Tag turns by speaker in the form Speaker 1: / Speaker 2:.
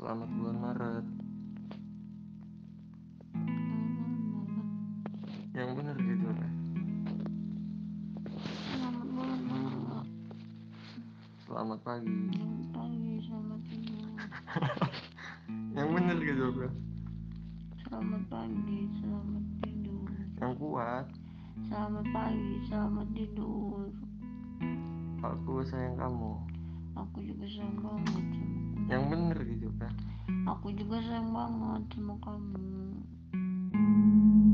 Speaker 1: selamat bulan Maret yang bener gitu, judulnya
Speaker 2: Selamat malam, Mak.
Speaker 1: selamat pagi
Speaker 2: Selamat pagi, selamat siang.
Speaker 1: yang bener gitu, judulnya
Speaker 2: Selamat pagi, selamat tidur.
Speaker 1: yang kuat
Speaker 2: Selamat pagi, selamat tidur.
Speaker 1: aku sayang kamu
Speaker 2: Aku juga sayang banget sama kamu.
Speaker 1: yang bener gitu, judulnya
Speaker 2: Aku juga sayang banget sama kamu.